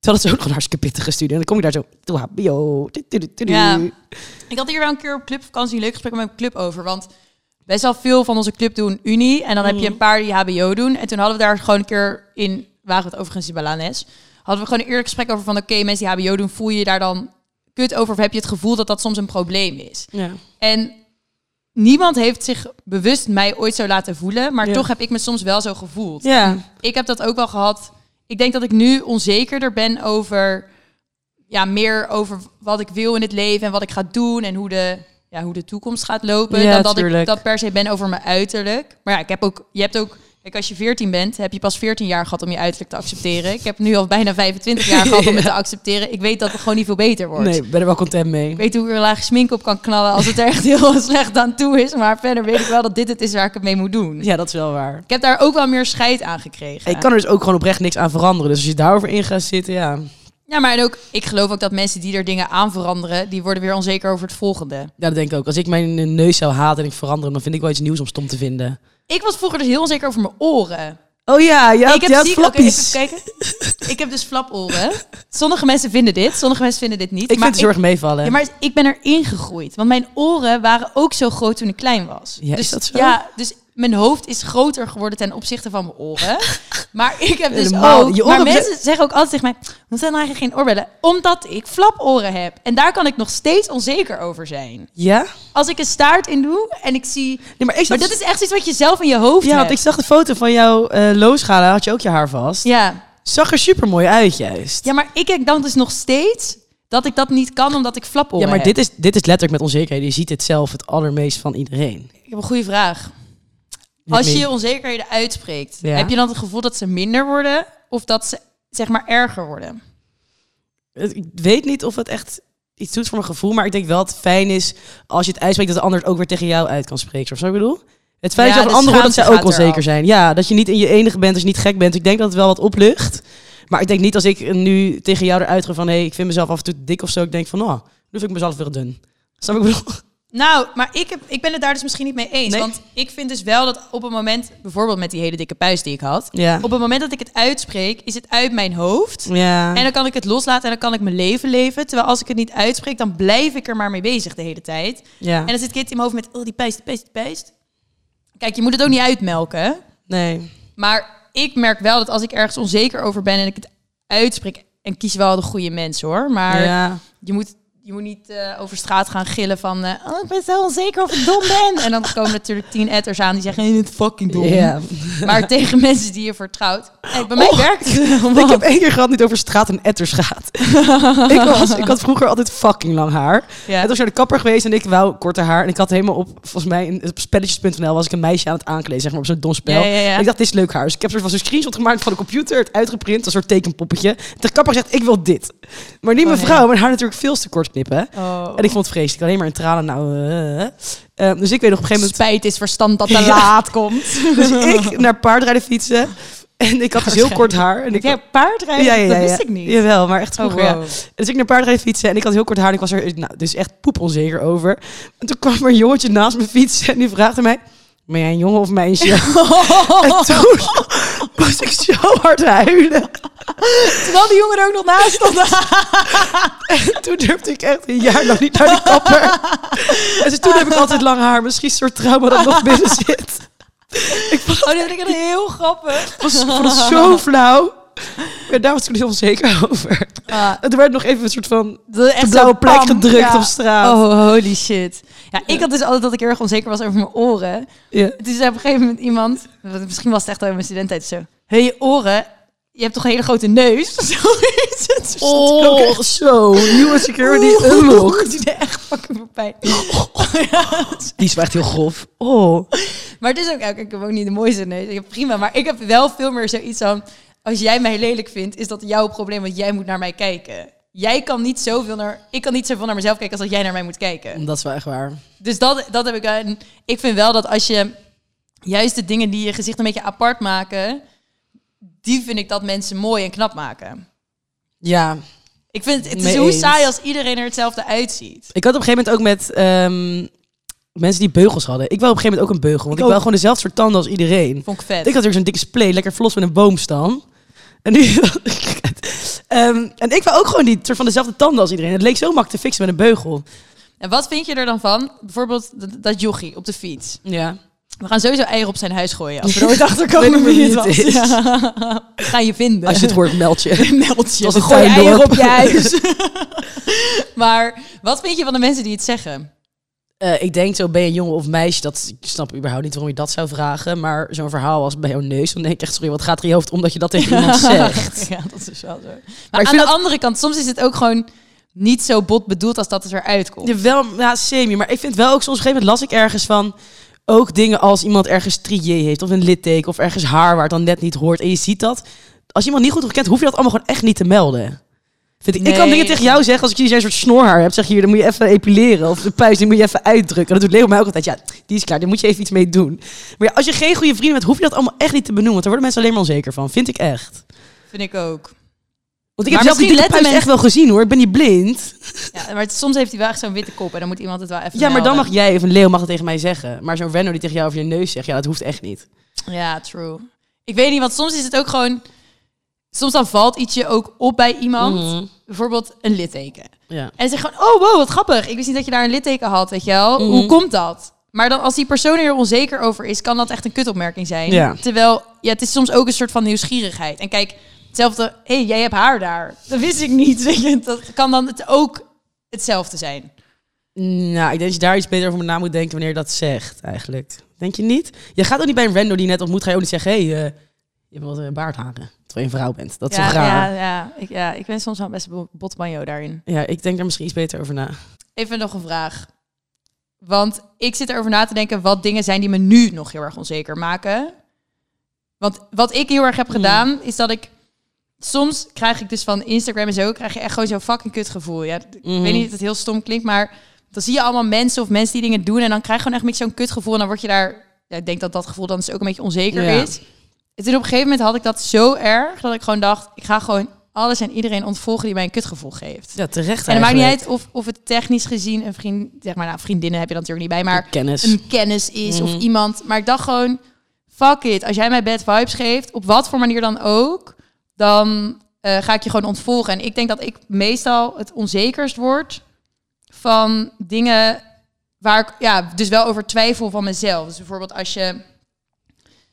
Speaker 5: Terwijl het is ook nog een hartstikke pittige studie. En dan kom je daar zo, doe hbo. tu, tu, tu, tu, tu.
Speaker 4: Ja. Ik had hier wel een keer op clubvakantie een leuk gesprek met mijn club over. Want best wel veel van onze club doen Unie. En dan
Speaker 5: Mm.
Speaker 4: heb je een paar die HBO doen. En toen hadden we daar gewoon een keer in, waren we het overigens in Balanes. Hadden we gewoon een eerlijk gesprek over van oké, mensen die HBO doen, voel je je daar dan kut over? Of heb je het gevoel dat dat soms een probleem is?
Speaker 5: Ja.
Speaker 4: En niemand heeft zich bewust mij ooit zo laten voelen. Maar
Speaker 5: Ja.
Speaker 4: toch heb ik me soms wel zo gevoeld.
Speaker 5: Ja.
Speaker 4: ik heb dat ook wel gehad. Ik denk dat ik nu onzekerder ben over, ja, meer over wat ik wil in het leven en wat ik ga doen en hoe de, ja, hoe de toekomst gaat lopen.
Speaker 5: Ja,
Speaker 4: dan dat
Speaker 5: tuurlijk.
Speaker 4: ik dat per se ben over mijn uiterlijk. Maar ja, ik heb ook, je hebt ook, kijk, als je 14 bent, heb je pas 14 jaar gehad om je uiterlijk te accepteren. Ik heb nu al bijna 25 jaar gehad om het te accepteren. Ik weet dat het gewoon niet veel beter wordt.
Speaker 5: Nee, ik ben er wel content mee.
Speaker 4: Ik weet hoe ik er een laag smink op kan knallen als het er echt heel slecht aan toe is. Maar verder weet ik wel dat dit het is waar ik het mee moet doen.
Speaker 5: Ja, dat is wel waar.
Speaker 4: Ik heb daar ook wel meer scheid aan gekregen.
Speaker 5: Ik kan er dus ook gewoon oprecht niks aan veranderen. Dus als je daarover in gaat zitten, ja.
Speaker 4: Ja, maar en ook, ik geloof ook dat mensen die er dingen aan veranderen, die worden weer onzeker over het volgende.
Speaker 5: Ja, dat denk ik ook. Als ik mijn neus zou haten en ik verander hem, dan vind ik wel iets nieuws om stom te vinden.
Speaker 4: Ik was vroeger dus heel onzeker over mijn oren.
Speaker 5: Oh ja, ja,
Speaker 4: ik heb
Speaker 5: ja,
Speaker 4: ziek- oké,
Speaker 5: flappies.
Speaker 4: even kijken. ik heb dus flaporen. Sommige mensen vinden dit, sommige mensen vinden dit niet.
Speaker 5: ik vind het zorg meevallen.
Speaker 4: ja, maar ik ben erin gegroeid. Want mijn oren waren ook zo groot toen ik klein was.
Speaker 5: Ja, is
Speaker 4: dus,
Speaker 5: dat zo?
Speaker 4: Ja, dus mijn hoofd is groter geworden ten opzichte van mijn oren. maar ik heb dus
Speaker 5: Helemaal.
Speaker 4: ook...
Speaker 5: Je
Speaker 4: maar
Speaker 5: oren-
Speaker 4: mensen zeggen ook altijd tegen mij... Wat zijn er eigenlijk geen oorbellen? Omdat ik flaporen heb. En daar kan ik nog steeds onzeker over zijn.
Speaker 5: Ja?
Speaker 4: als ik een staart in doe en ik zie...
Speaker 5: Nee, maar ik
Speaker 4: Maar
Speaker 5: zat-
Speaker 4: dat is echt iets wat je zelf in je hoofd
Speaker 5: dus- Ja, want
Speaker 4: hebt.
Speaker 5: ik zag de foto van jouw eh looschalen, had je ook je haar vast.
Speaker 4: Ja.
Speaker 5: Zag er super mooi uit juist.
Speaker 4: ja, maar ik denk dan dus nog steeds dat ik dat niet kan omdat ik flaporen
Speaker 5: Ja, maar
Speaker 4: heb.
Speaker 5: dit is, dit is letterlijk met onzekerheden. Je ziet het zelf het allermeest van iedereen.
Speaker 4: Ik heb een goede vraag.
Speaker 5: Hit
Speaker 4: Als je
Speaker 5: me.
Speaker 4: je onzekerheden uitspreekt,
Speaker 5: Ja.
Speaker 4: heb je dan het gevoel dat ze minder worden of dat ze zeg maar erger worden?
Speaker 5: Het- Ik weet niet of het echt iets doet voor mijn gevoel, maar ik denk wel dat het fijn is als je het uitspreekt dat de ander het ook weer tegen jou uit kan spreken. Of zo ik bedoel? Het feit
Speaker 4: Ja,
Speaker 5: dat
Speaker 4: de
Speaker 5: van anderen hoort dat zij
Speaker 4: schaamte
Speaker 5: ook
Speaker 4: gaat eraf.
Speaker 5: onzeker zijn. Ja, dat je niet in je enige bent als je niet gek bent. Ik denk dat het wel wat oplucht. Maar ik denk niet als ik nu tegen jou eruit ga van hé, hey, ik vind mezelf af en toe dik of zo. Ik denk van oh, nu vind ik mezelf weer dun. Snap ik wat ik bedoel?
Speaker 4: Nou, maar ik, heb, ik ben het daar dus misschien niet mee eens.
Speaker 5: Nee.
Speaker 4: Want ik vind dus wel dat op een moment, bijvoorbeeld met die hele dikke puist die ik had.
Speaker 5: Ja.
Speaker 4: Op het moment dat ik het uitspreek, is het uit mijn hoofd.
Speaker 5: Ja.
Speaker 4: En dan kan ik het loslaten en dan kan ik mijn leven leven. Terwijl als ik het niet uitspreek, dan blijf ik er maar mee bezig de hele tijd.
Speaker 5: ja.
Speaker 4: En dan zit Kit in mijn hoofd met, oh die pijst, die pijst, die pijst. Kijk, je moet het ook niet uitmelken.
Speaker 5: nee.
Speaker 4: Maar ik merk wel dat als ik ergens onzeker over ben en ik het uitspreek... En kies wel de goede mensen hoor. Maar
Speaker 5: ja.
Speaker 4: je, moet, je moet niet eh, over straat gaan gillen van... eh, oh, ik ben zo onzeker of ik dom ben. en dan komen natuurlijk tien etters aan die zeggen, je bent fucking dom.
Speaker 5: Ja.
Speaker 4: Maar tegen mensen die je vertrouwt. Hey, bij mij
Speaker 5: Oh.
Speaker 4: werkt het.
Speaker 5: Ik heb één keer gehad niet over straat en etters gaat. ik, was, ik had vroeger altijd fucking lang haar.
Speaker 4: Ja.
Speaker 5: En toen was ik naar de kapper geweest en ik wou korte haar. En ik had helemaal op, volgens mij, een- op spelletjes.nl was ik een meisje aan het aankleden, zeg maar, op zo'n dom spel.
Speaker 4: Ja, ja, ja.
Speaker 5: En ik dacht, dit is leuk haar. Dus ik heb soort van zo'n screenshot gemaakt van de computer, het uitgeprint, een soort tekenpoppetje. De kapper zegt, ik wil dit. Maar niet
Speaker 4: Oh,
Speaker 5: mijn
Speaker 4: nee.
Speaker 5: vrouw, mijn haar natuurlijk veel te kort knippen.
Speaker 4: Oh.
Speaker 5: En ik vond het vreselijk, alleen maar in tranen. Nou, eh. Eh, dus ik weet nog op een gegeven moment...
Speaker 4: Spijt is verstand dat te
Speaker 5: Ja.
Speaker 4: laat komt.
Speaker 5: Dus ik naar paardrijden fietsen. En ik had dus heel kort haar. En ik
Speaker 4: Jij paardrijden? Dat wist ik niet. Oh,
Speaker 5: Jawel, maar echt vroeger,
Speaker 4: wow.
Speaker 5: ja. Dus ik naar paardrijden fietsen en ik had heel kort haar en ik was er nou, dus echt poep onzeker over. En toen kwam er een jongetje naast me fietsen en die vraagde mij... Ben jij een jongen of meisje? en toen was ik zo hard huilen.
Speaker 4: Terwijl die jongen er ook nog naast stond.
Speaker 5: Toen durfde ik echt een jaar lang niet naar die kapper. En toen heb ik altijd lang haar. Misschien een soort trauma dat nog binnen zit.
Speaker 4: Oh, dat vind ik echt heel grappig.
Speaker 5: Ik was- ik vond het zo flauw. Ja, daar was ik heel onzeker over.
Speaker 4: Ah,
Speaker 5: Er werd nog even een soort van
Speaker 4: dat is echt
Speaker 5: de
Speaker 4: zo'n
Speaker 5: blauwe plek
Speaker 4: pam.
Speaker 5: gedrukt
Speaker 4: Ja.
Speaker 5: op straat.
Speaker 4: Oh, holy shit. Ja, ik had dus altijd dat ik heel erg onzeker was over mijn oren.
Speaker 5: Ja.
Speaker 4: Het is op een gegeven moment iemand, want misschien was het echt al in mijn studententijd zo. Hé, je oren, je hebt toch een hele grote neus? Zoiets. Het stond
Speaker 5: Oh,
Speaker 4: ook echt-
Speaker 5: zo. Nieuwe security
Speaker 4: Oeh,
Speaker 5: unlocked.
Speaker 4: Het doet echt fucking pijn.
Speaker 5: Die is wel echt heel grof. Oh.
Speaker 4: Maar het is ook, ja, kijk, ik heb ook niet de mooiste neus. Ik heb prima, maar ik heb wel veel meer zoiets van... Als jij mij lelijk vindt, is dat jouw probleem, want jij moet naar mij kijken. Jij kan niet zoveel naar... Ik kan niet zoveel naar mezelf kijken als dat jij naar mij moet kijken.
Speaker 5: Dat is wel echt waar.
Speaker 4: Dus dat, dat heb ik... wel. En ik vind wel dat als je juist de dingen die je gezicht een beetje apart maken... Die vind ik dat mensen mooi en knap maken.
Speaker 5: Ja.
Speaker 4: Ik vind het, het is
Speaker 5: Mee
Speaker 4: hoe
Speaker 5: eens.
Speaker 4: saai als iedereen er hetzelfde uitziet.
Speaker 5: Ik had op een gegeven moment ook met ehm, mensen die beugels hadden. Ik wil op een gegeven moment ook een beugel. Want ik,
Speaker 4: Ik
Speaker 5: wil
Speaker 4: ook.
Speaker 5: gewoon dezelfde soort tanden als iedereen.
Speaker 4: Vond ik vet.
Speaker 5: Ik had ook zo'n dikke spleet, lekker vlos met een boomstam. En nu... Ehm, en ik wou ook gewoon die soort van dezelfde tanden als iedereen. Het leek zo makkelijk te fixen met een beugel.
Speaker 4: En wat vind je er dan van? Bijvoorbeeld dat, dat jochie op de fiets.
Speaker 5: Ja.
Speaker 4: We gaan sowieso eieren op zijn huis gooien. Als we er
Speaker 5: Nooit
Speaker 4: komen
Speaker 5: achterkomen
Speaker 4: wie het was. We gaan je vinden.
Speaker 5: Als je het hoort, meld je.
Speaker 4: meld je.
Speaker 5: Het was een
Speaker 4: Gooi
Speaker 5: tuindorp.
Speaker 4: eieren op je huis. maar wat vind je van de mensen die het zeggen?
Speaker 5: Eh, ik denk zo, ben je een jongen of meisje? Dat, ik snap überhaupt niet waarom je dat zou vragen. Maar zo'n verhaal als bij jouw neus, dan denk ik echt, sorry, wat gaat er in je hoofd om dat je dat tegen iemand zegt?
Speaker 4: Ja, dat is wel zo. Maar,
Speaker 5: ik
Speaker 4: aan de
Speaker 5: vind dat-
Speaker 4: andere kant, soms is het ook gewoon niet zo bot bedoeld als dat het eruit komt.
Speaker 5: Jawel, ja, semi. Maar ik vind wel ook soms, op een gegeven moment las ik ergens van... Ook dingen als iemand ergens trier heeft of een litteken of ergens haar waar het dan net niet hoort. En je ziet dat. Als iemand niet goed gekend, hoef je dat allemaal gewoon echt niet te melden. Vind ik. ik kan
Speaker 4: Nee.
Speaker 5: dingen tegen jou zeggen als ik zie dat jij een soort snorhaar hebt. Zeg je hier, dan moet je even epileren. Of de puis, die moet je even uitdrukken. En dat doet Leo mij ook altijd. Ja, die is klaar, daar moet je even iets mee doen. Maar ja, als je geen goede vrienden bent, hoef je dat allemaal echt niet te benoemen. Want daar worden mensen alleen maar onzeker van. Vind ik echt.
Speaker 4: Vind ik ook.
Speaker 5: Want ik
Speaker 4: Maar
Speaker 5: heb zelf die
Speaker 4: misschien
Speaker 5: dikke
Speaker 4: letten
Speaker 5: puis
Speaker 4: mensen-
Speaker 5: echt wel gezien hoor. Ik ben niet blind.
Speaker 4: Ja, maar het- soms heeft hij wel echt zo'n witte kop en dan moet iemand het wel even
Speaker 5: Ja, maar dan
Speaker 4: melden.
Speaker 5: mag jij of een leeuw mag het tegen mij zeggen. Maar zo'n Renno die tegen jou over je neus zegt, ja, dat hoeft echt niet.
Speaker 4: Ja, true. Ik weet niet, want soms is het ook gewoon... Soms dan valt ietsje ook op bij iemand.
Speaker 5: Mhm.
Speaker 4: Bijvoorbeeld een litteken.
Speaker 5: Ja.
Speaker 4: En ze gewoon, oh wow, wat grappig. Ik wist niet dat je daar een litteken had, weet je wel.
Speaker 5: Mhm.
Speaker 4: Hoe komt dat? Maar dan als die persoon er onzeker over is, kan dat echt een kutopmerking zijn.
Speaker 5: Ja.
Speaker 4: Terwijl, ja, het is soms ook een soort van nieuwsgierigheid. En kijk, hetzelfde, hé, hey, jij hebt haar daar. Dat wist ik niet. Weet je, dat kan dan het ook hetzelfde zijn.
Speaker 5: Nou, ik denk dat je daar iets beter over na moet denken wanneer je dat zegt, eigenlijk. Denk je niet? Je gaat ook niet bij een Renno die je net ontmoet, ga je ook niet zeggen, hé, hey, eh, je hebt wat eh, baardharen. Terwijl je een vrouw bent. Dat is
Speaker 4: ja,
Speaker 5: toch raar?
Speaker 4: Ja, ja, ik, ja, ik ben soms wel best bo- botbanjo daarin.
Speaker 5: Ja, ik denk daar misschien iets beter over na.
Speaker 4: Even nog een vraag. Want ik zit erover na te denken wat dingen zijn die me nu nog heel erg onzeker maken. Want wat ik heel erg
Speaker 5: Hmm.
Speaker 4: heb gedaan, is dat ik... Soms krijg ik dus van Instagram en zo, krijg je echt gewoon zo'n fucking kut gevoel. Ja, ik
Speaker 5: Mhm.
Speaker 4: weet niet dat het heel stom klinkt, maar dan zie je allemaal mensen of mensen die dingen doen. En dan krijg je gewoon echt een beetje zo'n kut gevoel. En dan word je daar... Ja, ik denk dat dat gevoel dan dus ook een beetje onzeker
Speaker 5: Ja.
Speaker 4: is. En toen op een gegeven moment had ik dat zo erg, dat ik gewoon dacht... Ik ga gewoon alles en iedereen ontvolgen die mij een kutgevoel geeft.
Speaker 5: Ja, terecht
Speaker 4: En het maakt niet
Speaker 5: eigenlijk.
Speaker 4: uit of, of het technisch gezien een vriend, zeg maar, nou, vriendinnen heb je dan natuurlijk niet bij, maar
Speaker 5: Kennis. Mhm.
Speaker 4: een kennis is of iemand. Maar ik dacht gewoon, fuck it, als jij mij bad vibes geeft, op wat voor manier dan ook, dan eh, ga ik je gewoon ontvolgen. En ik denk dat ik meestal het onzekerst word van dingen waar ik ja, dus wel over twijfel van mezelf. Dus bijvoorbeeld als je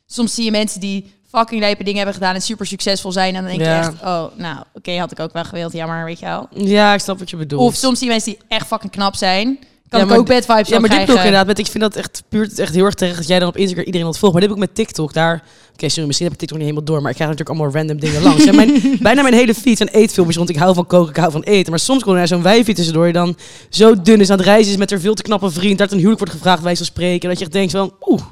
Speaker 4: soms zie je mensen die fucking lijpe dingen hebben gedaan en super succesvol zijn en dan denk
Speaker 5: Ja.
Speaker 4: je echt, oh, nou, oké, had ik ook wel gewild, ja, maar weet je wel.
Speaker 5: Ja, ik snap wat je bedoelt.
Speaker 4: Of soms die mensen die echt fucking knap zijn. Kan
Speaker 5: Ja,
Speaker 4: ik
Speaker 5: maar
Speaker 4: ook
Speaker 5: di-
Speaker 4: bad vibes van
Speaker 5: Ja, maar dit
Speaker 4: krijgen.
Speaker 5: doe ik inderdaad. Met, ik vind dat echt puur het is echt heel erg terecht dat jij dan op Instagram iedereen ontvolgt. Maar dit heb ik met TikTok daar. Oké, sorry, misschien heb ik TikTok niet helemaal door, maar ik krijg natuurlijk allemaal random dingen langs. Ja, mijn, bijna mijn hele feed zijn eetfilmpjes, want ik hou van koken, ik hou van eten. Maar soms komt er zo'n wijfie tussendoor die dan zo dun is aan het reizen is met haar veel te knappe vriend. Dat een huwelijk wordt gevraagd, wij zo spreken. Dat je echt denkt van, oeh,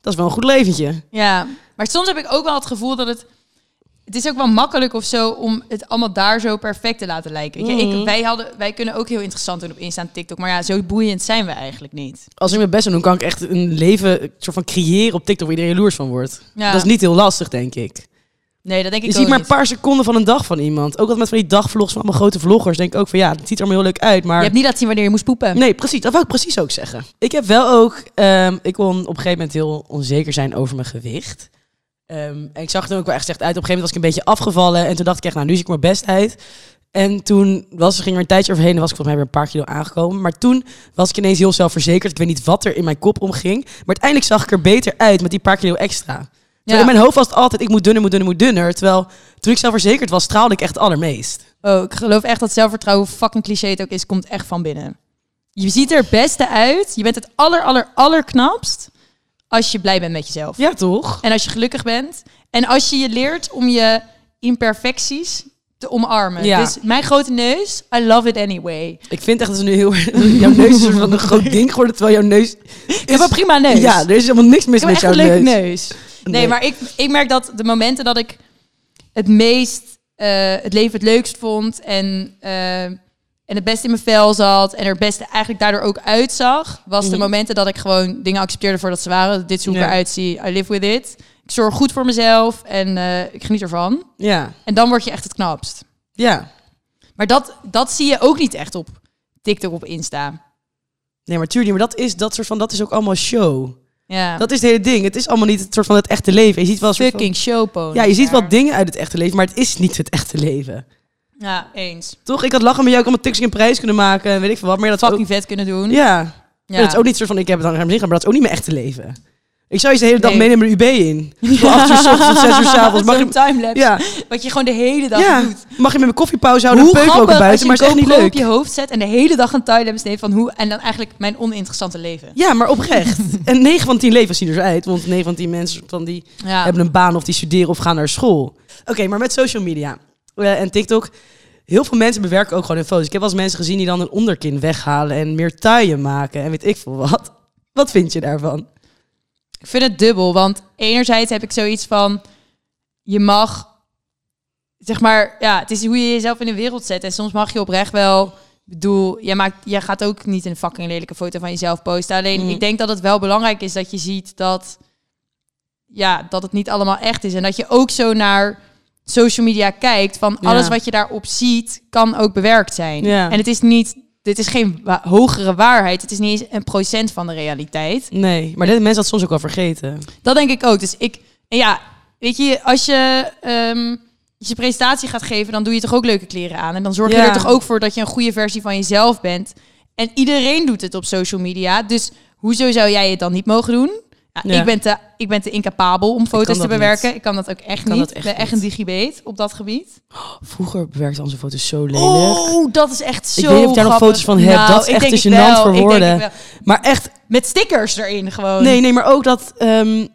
Speaker 5: dat is wel een goed leventje.
Speaker 4: Ja, maar soms heb ik ook wel het gevoel dat het... Het is ook wel makkelijk of zo om het allemaal daar zo perfect te laten lijken. Weet je,
Speaker 5: Mm.
Speaker 4: ik, wij, hadden, wij kunnen ook heel interessant doen op Insta en TikTok. Maar ja, zo boeiend zijn we eigenlijk niet.
Speaker 5: Als ik mijn best zou doen, kan ik echt een leven een soort van creëren op TikTok waar iedereen jaloers van wordt.
Speaker 4: Ja.
Speaker 5: Dat is niet heel lastig, denk ik.
Speaker 4: Nee, dat denk ik
Speaker 5: Je
Speaker 4: ook
Speaker 5: ziet maar een
Speaker 4: niet.
Speaker 5: paar seconden van een dag van iemand. Ook wat met van die dagvlogs van allemaal grote vloggers. Denk ik ook van ja, het ziet er allemaal heel leuk uit.
Speaker 4: Je
Speaker 5: Maar
Speaker 4: hebt niet laten zien wanneer je moest poepen.
Speaker 5: nee, precies. Dat wou ik precies ook zeggen. Ik heb wel ook, ehm, ik kon op een gegeven moment heel onzeker zijn over mijn gewicht. Ehm, en ik zag er ook wel echt slecht uit. Op een gegeven moment was ik een beetje afgevallen. En toen dacht ik echt, nou, nu zie ik mijn best uit. En toen was, ging er een tijdje overheen en was ik volgens mij weer een paar kilo aangekomen. Maar toen was ik ineens heel zelfverzekerd. Ik weet niet wat er in mijn kop omging. Maar uiteindelijk zag ik er beter uit met die paar kilo extra. Terwijl
Speaker 4: Ja.
Speaker 5: In mijn hoofd was het altijd, ik moet dunner, moet dunner, moet dunner. Terwijl toen ik zelfverzekerd was, straalde ik echt het allermeest.
Speaker 4: Oh, ik geloof echt dat zelfvertrouwen, hoe fucking cliché het ook is, komt echt van binnen. Je ziet er het beste uit. Je bent het aller, aller, aller knapst als je blij bent met jezelf.
Speaker 5: Ja, toch?
Speaker 4: En als je gelukkig bent. En als je je leert om je imperfecties te omarmen.
Speaker 5: Ja.
Speaker 4: Dus mijn grote neus, I love it anyway.
Speaker 5: Ik vind echt dat ze nu heel erg... Jouw neus is een soort van een groot ding geworden, terwijl jouw neus...
Speaker 4: Ik heb een prima neus.
Speaker 5: Dus- Ja, er is helemaal niks mis
Speaker 4: Ik heb
Speaker 5: met
Speaker 4: echt
Speaker 5: jouw
Speaker 4: een leuke
Speaker 5: neus.
Speaker 4: neus. Nee,
Speaker 5: Nee.
Speaker 4: maar ik, ik merk dat de momenten dat ik het meest eh, het leven het leukst vond en, eh, en het beste in mijn vel zat en er het beste eigenlijk daardoor ook uitzag, was de
Speaker 5: Mhm.
Speaker 4: momenten dat ik gewoon dingen accepteerde voordat ze waren. Dit is hoe ik
Speaker 5: Ja.
Speaker 4: eruit zie. I live with it. Ik zorg goed voor mezelf en eh, ik geniet ervan.
Speaker 5: Ja,
Speaker 4: En dan word je echt het knapst.
Speaker 5: ja.
Speaker 4: Maar dat, dat zie je ook niet echt op TikTok, op Insta.
Speaker 5: Nee, maar tuurlijk, niet, maar dat is, dat, soort van, dat is ook allemaal show.
Speaker 4: Ja.
Speaker 5: Dat is het hele ding. Het is allemaal niet het soort van het echte leven. Je ziet wel een soort van-
Speaker 4: fucking showpony.
Speaker 5: ja, je ziet wel
Speaker 4: daar.
Speaker 5: dingen uit het echte leven, maar het is niet het echte leven.
Speaker 4: Ja, eens.
Speaker 5: Toch? Ik had lachen met jou ook allemaal TikToks in prijs kunnen maken en weet ik veel wat. Maar dat is ook,
Speaker 4: Fucking vet kunnen doen.
Speaker 5: ja.
Speaker 4: Ja.
Speaker 5: En dat is ook niet soort van, ik heb het aan hem zin maar dat is ook niet mijn echte leven. Ik zou je de hele dag
Speaker 4: Nee.
Speaker 5: meenemen de UB in. Van acht uur 's ochtends tot zes uur 's avonds. Mag
Speaker 4: Zo'n
Speaker 5: je,
Speaker 4: timelapse.
Speaker 5: ja,
Speaker 4: Wat je gewoon de hele dag
Speaker 5: ja.
Speaker 4: doet.
Speaker 5: Mag je met mijn koffiepauze houden, een peuk roken
Speaker 4: als
Speaker 5: buiten,
Speaker 4: je
Speaker 5: maar het is echt
Speaker 4: een
Speaker 5: niet
Speaker 4: GoPro
Speaker 5: leuk.
Speaker 4: op je hoofd zet en de hele dag een timelapse neemt van hoe... En dan eigenlijk mijn oninteressante leven.
Speaker 5: Ja, maar oprecht. en 9 van 10 levens zien er zo uit. Want 9 van 10 mensen van die
Speaker 4: Ja.
Speaker 5: hebben een baan of die studeren of gaan naar school. Oké, maar met social media eh, en TikTok. Heel veel mensen bewerken ook gewoon hun foto's. Ik heb wel eens mensen gezien die dan een onderkin weghalen en meer taille maken en weet ik veel wat. Wat vind je daarvan?
Speaker 4: Ik vind het dubbel, want enerzijds heb ik zoiets van... Je mag... Zeg maar, ja, het is hoe je jezelf in de wereld zet. En soms mag je oprecht wel... ik bedoel, jij, maakt, jij gaat ook niet een fucking lelijke foto van jezelf posten. Alleen,
Speaker 5: Mm.
Speaker 4: ik denk dat het wel belangrijk is dat je ziet dat... Ja, dat het niet allemaal echt is. En dat je ook zo naar social media kijkt... van
Speaker 5: Ja.
Speaker 4: alles wat je daarop ziet, kan ook bewerkt zijn.
Speaker 5: Ja.
Speaker 4: En het is niet... Dit is geen wa- hogere waarheid. Het is niet eens een procent van de realiteit.
Speaker 5: Nee, maar dit, mensen dat soms ook wel vergeten.
Speaker 4: Dat denk ik ook. Dus ik, en ja, weet je, als je ehm, als je presentatie gaat geven, dan doe je toch ook leuke kleren aan. En dan zorg je
Speaker 5: Ja.
Speaker 4: er toch ook voor dat je een goede versie van jezelf bent. En iedereen doet het op social media. Dus hoezo zou jij het dan niet mogen doen? Ja,
Speaker 5: Ja.
Speaker 4: Ik, ben te, ik ben te incapabel om foto's
Speaker 5: kan
Speaker 4: te
Speaker 5: dat
Speaker 4: bewerken. Ik kan dat ook echt
Speaker 5: kan
Speaker 4: niet.
Speaker 5: dat
Speaker 4: ik
Speaker 5: echt
Speaker 4: ben echt een
Speaker 5: niet.
Speaker 4: digibeet op dat gebied.
Speaker 5: Vroeger bewerkten onze foto's zo lelijk.
Speaker 4: Oh, dat is echt zo
Speaker 5: Ik weet niet of jij nog
Speaker 4: grappig.
Speaker 5: foto's van hebt.
Speaker 4: Nou,
Speaker 5: Dat is
Speaker 4: ik
Speaker 5: echt
Speaker 4: denk
Speaker 5: te
Speaker 4: het
Speaker 5: gênant
Speaker 4: wel.
Speaker 5: voor
Speaker 4: Ik denk het
Speaker 5: woorden.
Speaker 4: wel.
Speaker 5: Maar echt,
Speaker 4: Met stickers erin gewoon.
Speaker 5: nee, nee, maar ook dat, ehm,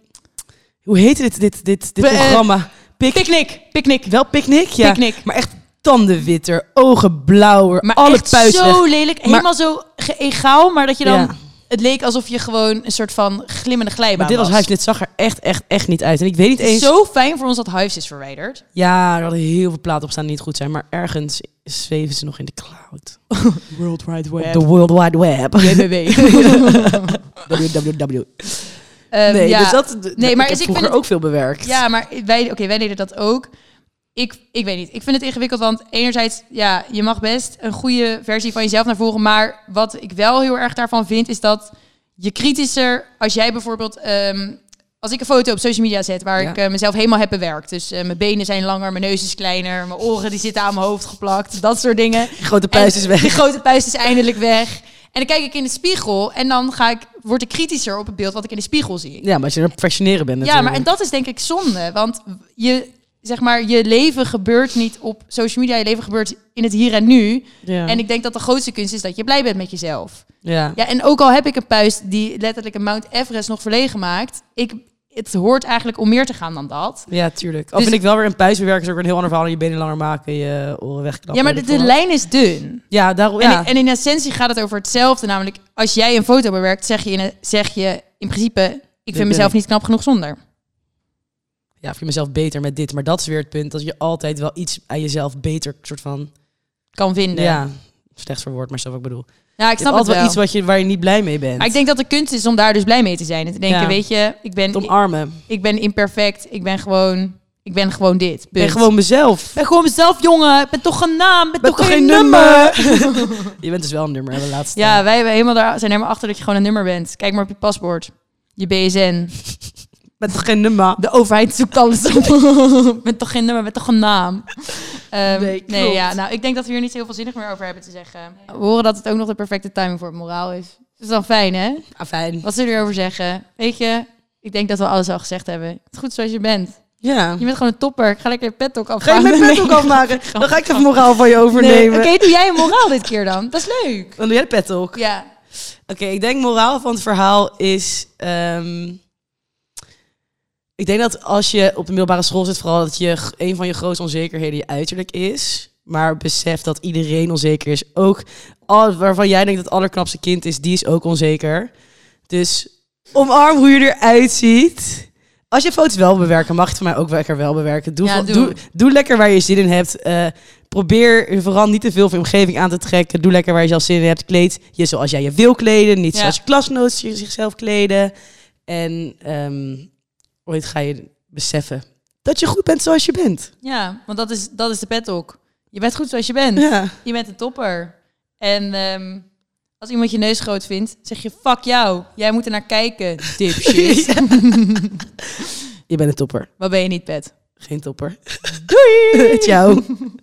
Speaker 5: hoe heette dit, dit, dit, dit
Speaker 4: Be- eh,
Speaker 5: programma? Pik,
Speaker 4: Picknick, picknick.
Speaker 5: Wel picknick, ja.
Speaker 4: Picknick.
Speaker 5: Maar echt tandenwitter, ogen blauwer,
Speaker 4: Maar
Speaker 5: alle
Speaker 4: echt
Speaker 5: puisten.
Speaker 4: zo lelijk. Helemaal zo geëgaal, maar dat je dan...
Speaker 5: Ja.
Speaker 4: Het leek alsof je gewoon een soort van glimmende glijbaan
Speaker 5: Maar dit was
Speaker 4: was.
Speaker 5: huis, dit zag er echt, echt, echt niet uit. En ik weet niet
Speaker 4: Het is
Speaker 5: eens...
Speaker 4: zo fijn voor ons dat huis is verwijderd.
Speaker 5: Ja, er hadden heel veel platen op staan die niet goed zijn. Maar ergens zweven ze nog in de cloud.
Speaker 4: World Wide
Speaker 5: Op de World Wide Web. www. Nee,
Speaker 4: Ehm, ja.
Speaker 5: dus dat...
Speaker 4: Nee, maar
Speaker 5: ik
Speaker 4: is-
Speaker 5: heb
Speaker 4: ik
Speaker 5: vroeger
Speaker 4: vind het-
Speaker 5: ook veel bewerkt.
Speaker 4: ja, maar wij, oké, wij deden dat ook. Ik, ik weet niet. Ik vind het ingewikkeld, want enerzijds, ja, je mag best een goede versie van jezelf naar voren. Maar wat ik wel heel erg daarvan vind, is dat je kritischer, als jij bijvoorbeeld, ehm, als ik een foto op social media zet waar
Speaker 5: Ja.
Speaker 4: ik eh, mezelf helemaal heb bewerkt. Dus eh, mijn benen zijn langer, mijn neus is kleiner, mijn oren die zitten aan mijn hoofd geplakt, dat soort dingen.
Speaker 5: Die grote puist
Speaker 4: En
Speaker 5: is weg.
Speaker 4: Die grote puist is eindelijk weg. En dan kijk ik in de spiegel en dan ga ik, word ik kritischer op het beeld wat ik in de spiegel zie.
Speaker 5: Ja, maar als je er perfectioneren bent
Speaker 4: Ja, maar en
Speaker 5: natuurlijk.
Speaker 4: dat is denk ik zonde. Want je, zeg maar, je leven gebeurt niet op social media. Je leven gebeurt in het hier en nu.
Speaker 5: Ja.
Speaker 4: En ik denk dat de grootste kunst is dat je blij bent met jezelf.
Speaker 5: ja.
Speaker 4: Ja, en ook al heb ik een puist die letterlijk een Mount Everest nog verlegen maakt. Ik, het hoort eigenlijk om meer te gaan dan dat.
Speaker 5: Ja, tuurlijk. Al
Speaker 4: Dus-
Speaker 5: vind ik wel weer een puist bewerken is ook weer een heel ander verhaal. Je benen langer maken, je oren wegknappen.
Speaker 4: Ja, maar de,
Speaker 5: weet ik
Speaker 4: de
Speaker 5: veel wat.
Speaker 4: lijn is dun.
Speaker 5: Ja, daarom...
Speaker 4: En,
Speaker 5: Ja.
Speaker 4: in, en in essentie gaat het over hetzelfde. Namelijk, als jij een foto bewerkt, zeg je in, zeg je in principe... Ik
Speaker 5: ben
Speaker 4: vind mezelf
Speaker 5: ik.
Speaker 4: niet knap genoeg zonder.
Speaker 5: ja, vind mezelf beter met dit. Maar dat is weer het punt dat je altijd wel iets aan jezelf beter soort van.
Speaker 4: Kan vinden.
Speaker 5: Ja, slecht verwoord, maar zelf wat ik bedoel.
Speaker 4: Nou, ik
Speaker 5: Je hebt
Speaker 4: snap het
Speaker 5: altijd
Speaker 4: wel.
Speaker 5: wel iets wat je, waar je niet blij mee bent.
Speaker 4: Maar ik denk dat de kunst is om daar dus blij mee te zijn. En te denken,
Speaker 5: Ja.
Speaker 4: weet je, ik ben,
Speaker 5: Het omarmen.
Speaker 4: ik ben imperfect. Ik ben gewoon, ik ben gewoon dit. Punt.
Speaker 5: Ik ben gewoon mezelf.
Speaker 4: Ik ben gewoon mezelf, jongen. Ik ben toch een naam. Ik ben,
Speaker 5: Ik ben
Speaker 4: toch, geen nummer.
Speaker 5: je bent dus wel een nummer, hebben we laatst.
Speaker 4: Ja, wij hebben helemaal daar, zijn helemaal achter dat je gewoon een nummer bent. Kijk maar op je paspoort. Je BSN.
Speaker 5: Met geen nummer.
Speaker 4: De overheid zoekt alles op. met toch geen nummer, met toch een naam. Ehm,
Speaker 5: Nee,
Speaker 4: nee,
Speaker 5: klopt.
Speaker 4: ja, nou, ik denk dat we hier niet heel veel zinnig meer over hebben te zeggen. We horen dat het ook nog de perfecte timing voor het moraal is. Dat is dan fijn, hè?
Speaker 5: Ah, fijn.
Speaker 4: Wat zullen we erover zeggen? Weet je, ik denk dat we alles al gezegd hebben. Het is goed zoals je bent.
Speaker 5: Ja.
Speaker 4: Je bent gewoon een topper. Ik ga lekker je pet ook
Speaker 5: Ga je
Speaker 4: afgaan.
Speaker 5: mijn pet ook afmaken? Dan ga ik even moraal van je
Speaker 4: Nee,
Speaker 5: overnemen.
Speaker 4: Oké, doe jij een moraal dit keer dan. Dat is leuk.
Speaker 5: Dan doe jij de pet ook.
Speaker 4: Ja.
Speaker 5: Oké, ik denk moraal van het verhaal is... ehm, ik denk dat als je op de middelbare school zit, vooral dat je g- een van je grootste onzekerheden je uiterlijk is. Maar besef dat iedereen onzeker is. Ook al, waarvan jij denkt dat het allerknapste kind is, die is ook onzeker. Dus omarm hoe je eruit ziet. Als je foto's wel bewerken, mag je het voor mij ook lekker wel bewerken. Doe,
Speaker 4: Ja,
Speaker 5: van-
Speaker 4: doe.
Speaker 5: doe. doe lekker waar je zin in hebt. Eh, probeer vooral niet te veel van je omgeving aan te trekken. Doe lekker waar je zelf zin in hebt. Kleed je zoals jij je wil kleden. Niet
Speaker 4: Ja.
Speaker 5: zoals je klasnoot zichzelf kleden. En ehm, ooit ga je beseffen dat je goed bent zoals je bent.
Speaker 4: Ja, want dat is, dat is de pet ook. Je bent goed zoals je bent.
Speaker 5: Ja.
Speaker 4: Je bent een topper. En ehm, als iemand je neus groot vindt, zeg je fuck jou. Jij moet er naar kijken, dipshit.
Speaker 5: Je bent een topper.
Speaker 4: Wat ben je niet, pet?
Speaker 5: Geen topper. Doei! Ciao.